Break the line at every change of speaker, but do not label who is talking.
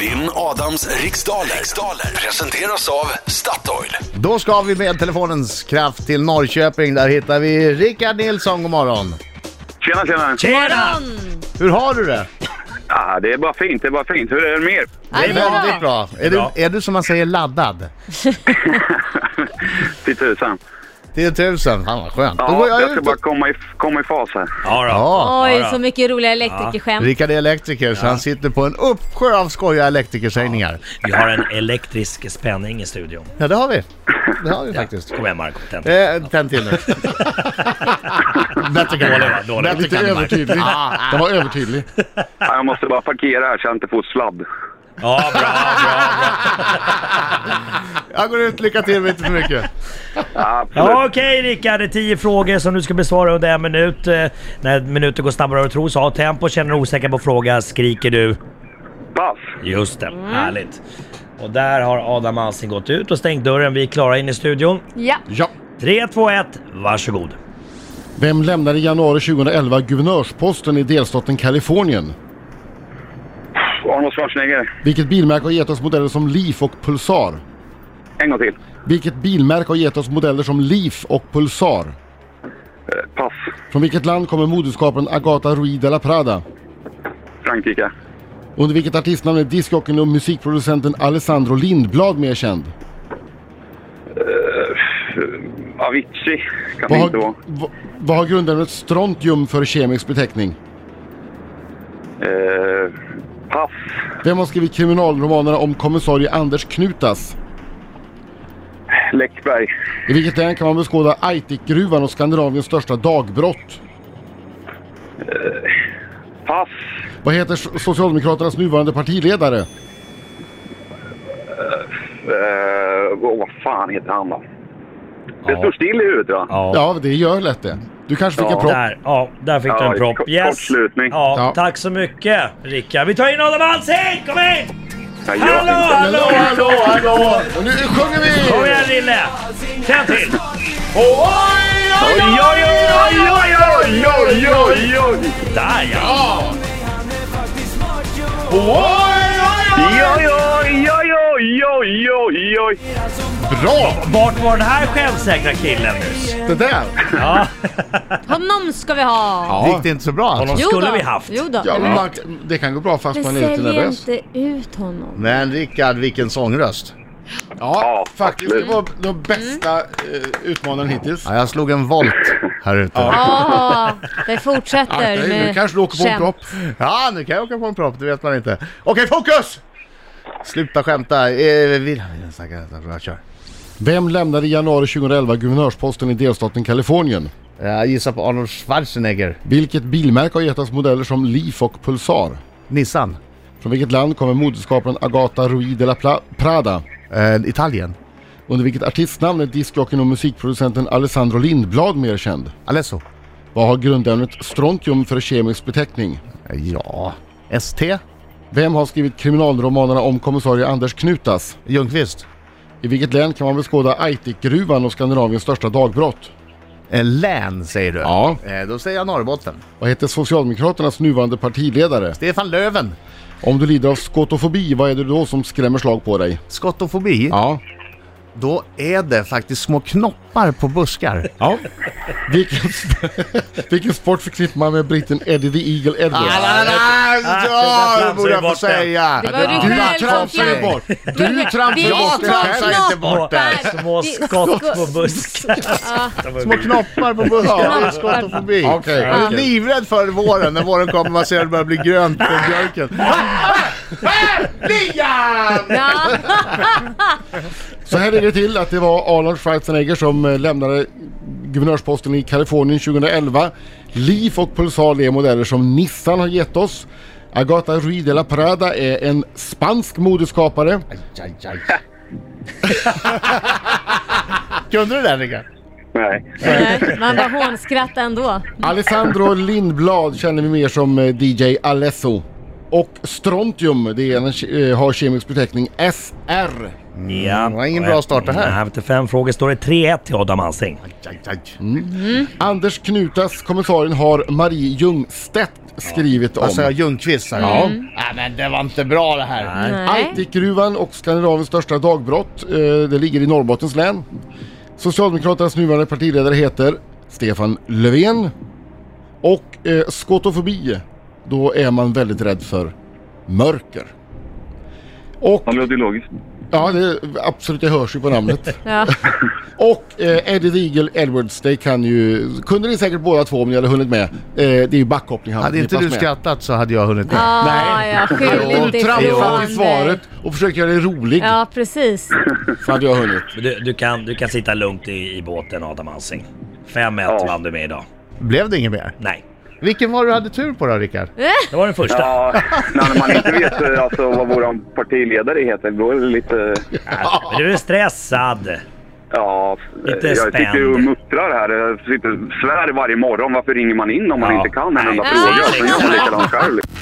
Vinn Adams riksdaler. riksdaler presenteras av Statoil.
Då ska vi med telefonens kraft till Norrköping. Där hittar vi Rickard Nilsson. God morgon.
Tjena, tjena!
Tjena!
Hur har du det?
Ah, det är bara fint, det är bara fint. Hur är det med er?
Det är väldigt bra. Är
Bra.
du, är du som man säger laddad?
Till tusan.
10 000. Fan vad skönt. Då
Ja,
går jag, ut
jag, ska
och-
bara komma i, komma i fas här.
Ja, då.
Ja.
Oj,
Ja, då.
så mycket roliga elektrikerskämt.
Rickard är elektriker så han sitter på en uppsjö av skojiga elektrikersägningar. Ja.
Vi har en elektrisk spänning i studion.
det har vi. Det har vi faktiskt.
Kom igen Marko, tänd.
Eh, tänd till nu. Bättre kan
Dålig, va?
det vara.
Dålig.
Bättre
Lite
kan det vara.
övertydlig. Den var övertydlig.
Ah, Jag måste bara parkera här så jag inte får sladd.
Ja, bra, bra, bra.
Jag går ut. Lycka till, men inte för mycket.
Ah, absolut.
Ja, okej Rickard, det är tio frågor som du ska besvara under en minut. Eh, När minuten går snabbare än du tror, så ha tempo. Känner du osäker på fråga skriker du.
Pass!
Just det,
Mm.
härligt. Och där har Adam Alsing gått ut och stängt dörren. Vi är klara in i studion.
Ja.
Ja.
3, 2, 1, varsågod.
Vem lämnade i januari 2011 guvernörsposten i delstaten Kalifornien?
Arnold Schwarzenegger,
Vilket bilmärke har gett oss modeller som Leaf och Pulsar?
en gång till.
Vilket bilmärke har gett oss modeller som Leaf och Pulsar?
Eh, Pass.
Från vilket land kommer modeskaparen Agata Ruiz de la Prada?
Frankrike.
Under vilket artistnamn är discjockeyn och musikproducenten Alessandro Lindblad mer känd?
Avicii kan
Vad
det
har,
inte vara.
vad, vad har grundämnet strontium för kemisk beteckning?
Eh, pass.
Vem har skrivit kriminalromanerna om kommissarie Anders Knutas?
Läckberg.
I vilket län kan man beskåda Aitikgruvan och Skandinaviens största dagbrott?
Pass.
Vad heter so- Socialdemokraternas nuvarande partiledare?
Eh, åh, vad fan heter han då? Det
Ja.
står still i huvudet va?
Ja, det gör lätt det. Du kanske fick
Ja.
en propp.
Där, ja, där fick du
Ja,
en propp.
kort-
Yes.
kortslutning.
Ja,
Ja.
tack så mycket Rickard. Vi tar in Adam Alsing! Kom in!
Jag gör
Hallå,
inte.
hallå, hallå, hallå!
Och nu sjunger vi!
Kom igen Rille! Tänd till! Oj, oj, oj, oj, oj, oj, oj, oj! Där ja!
Oj, oj, oj, oj, oj, oj, oj!
Bra!
Vart var den här självsäkra killen nyss?
Det där!
Honom ska vi ha!
Gick det inte så bra?
Honom
Alltså?
Jo
skulle
då.
vi haft.
Jo då.
Ja, men
men
man, det kan gå bra fast man är lite
sälj
nervös.
inte ut honom.
Men Rickard, vilken sångröst.
Ja,
Ja,
faktiskt. Det
absolut.
var den bästa eh, utmanaren hittills.
Mm.
Ja, jag slog en volt här ute. Ja.
Ja, det fortsätter
Akta dig,
med
nu kanske du åker på en
skämt.
propp.
nu kan jag åka på en propp, det vet man inte. Okej, fokus! Sluta skämta. Eh, vi- vi snackar nästan bra, kör.
Vem lämnade i januari 2011 guvernörsposten i delstaten Kalifornien?
Jag gissar på Arnold Schwarzenegger.
Vilket bilmärke har gett oss modeller som Leaf och Pulsar?
Nissan.
Från vilket land kommer modeskaparen Agata Ruiz de la Pla- Prada?
Eh, Italien.
Under vilket artistnamn är discjockeyn och musikproducenten Alessandro Lindblad mer känd?
Alesso.
Vad har grundämnet strontium för kemisk beteckning?
Eh, Ja. ST.
Vem har skrivit kriminalromanerna om kommissarie Anders Knutas?
Ljungqvist.
I vilket län kan man beskåda Aitikgruvan och Skandinaviens största dagbrott?
Eh, län säger du?
Ja.
Eh, då säger jag Norrbotten.
Vad heter Socialdemokraternas nuvarande partiledare?
Stefan Löven.
Om du lider av skotofobi, vad är det då som skrämmer slag på dig?
Skottofobi.
Ja.
Då är det faktiskt små knoppar på buskar.
ja. Vilken, vilken sport förknippar man med britten Eddie the Eagle
Ah,
Edwards? Ah,
Ja, det borde jag få säga.
Det var ju du själv som
tramsade
fjärde.
bort.
Du
bort
tramsade
dig själv. Jag tramsar inte bort
Små- Små skott på buskar.
Små knoppar på buskar. Det är skottofobi.
Okej,
Jag är
okej.
livrädd för våren. När våren kommer man ser att det börjar bli grönt på björken.
Ja,
Så här är det till att det var Arnold Schwarzenegger som eh, lämnade guvernörsposten i Kalifornien 2011. Leaf och Pulsar är modeller som Nissan har gett oss. Agata Ruiz de la Prada är en spansk modeskapare.
Kunde du den Rickard?
Nej.
nej, man bara hånskrattar ändå.
Alessandro Lindblad känner vi mer som eh, DJ Alesso. Och strontium, det är en, ke- eh, har kemisk beteckning SR.
Ja.
Mm, det var ingen bra start det här.
Nej, efter fem frågor står det 3-1 till Adam Alsing.
Aj, aj.
Anders Knutas, kommissarien, har Marie Ljungstedt skrivit om.
Alltså Ljungqvist här. Ja. Nej men det var inte bra det här.
Nej.
Nej.
Aitikgruvan och Skandinaviens största dagbrott. eh, Det ligger i Norrbottens län. Socialdemokraternas nuvarande partiledare heter Stefan Löfven. Och eh, skotofobi, då är man väldigt rädd för mörker. Och,
Ja, men det är logiskt.
ja det, absolut, det hörs ju på namnet.
Ja.
Och eh, Eddie Deagle Edwards, det kan ju... Kunde ni säkert båda två om ni hade hunnit med. Eh, det är ju backhoppning han
Hade inte
förknippas
du
med.
skrattat så hade jag hunnit med.
Ah, ja, skyll
Och
inte ifrån
trampat i
dig.
svaret och försökt göra dig rolig,
Ja, precis.
så hade jag hunnit.
Men Du, du, kan, du kan sitta lugnt i, i båten Adam Alsing. 5-1
Ja.
vann du med idag.
Blev det inget mer?
Nej,
Vilken var det du hade tur på då Rickard?
det var den första.
Ja, när man inte vet eh, alltså, vad vår partiledare heter, då är det lite...
Men du är stressad.
Ja,
Lite
jag sitter ju och
spänd.
muttrar här. Jag sitter och svär varje morgon. Varför ringer man in om man
Ja.
inte kan en enda
Nej.
fråga?
Nej.
Sen gör man likadant själv. liksom.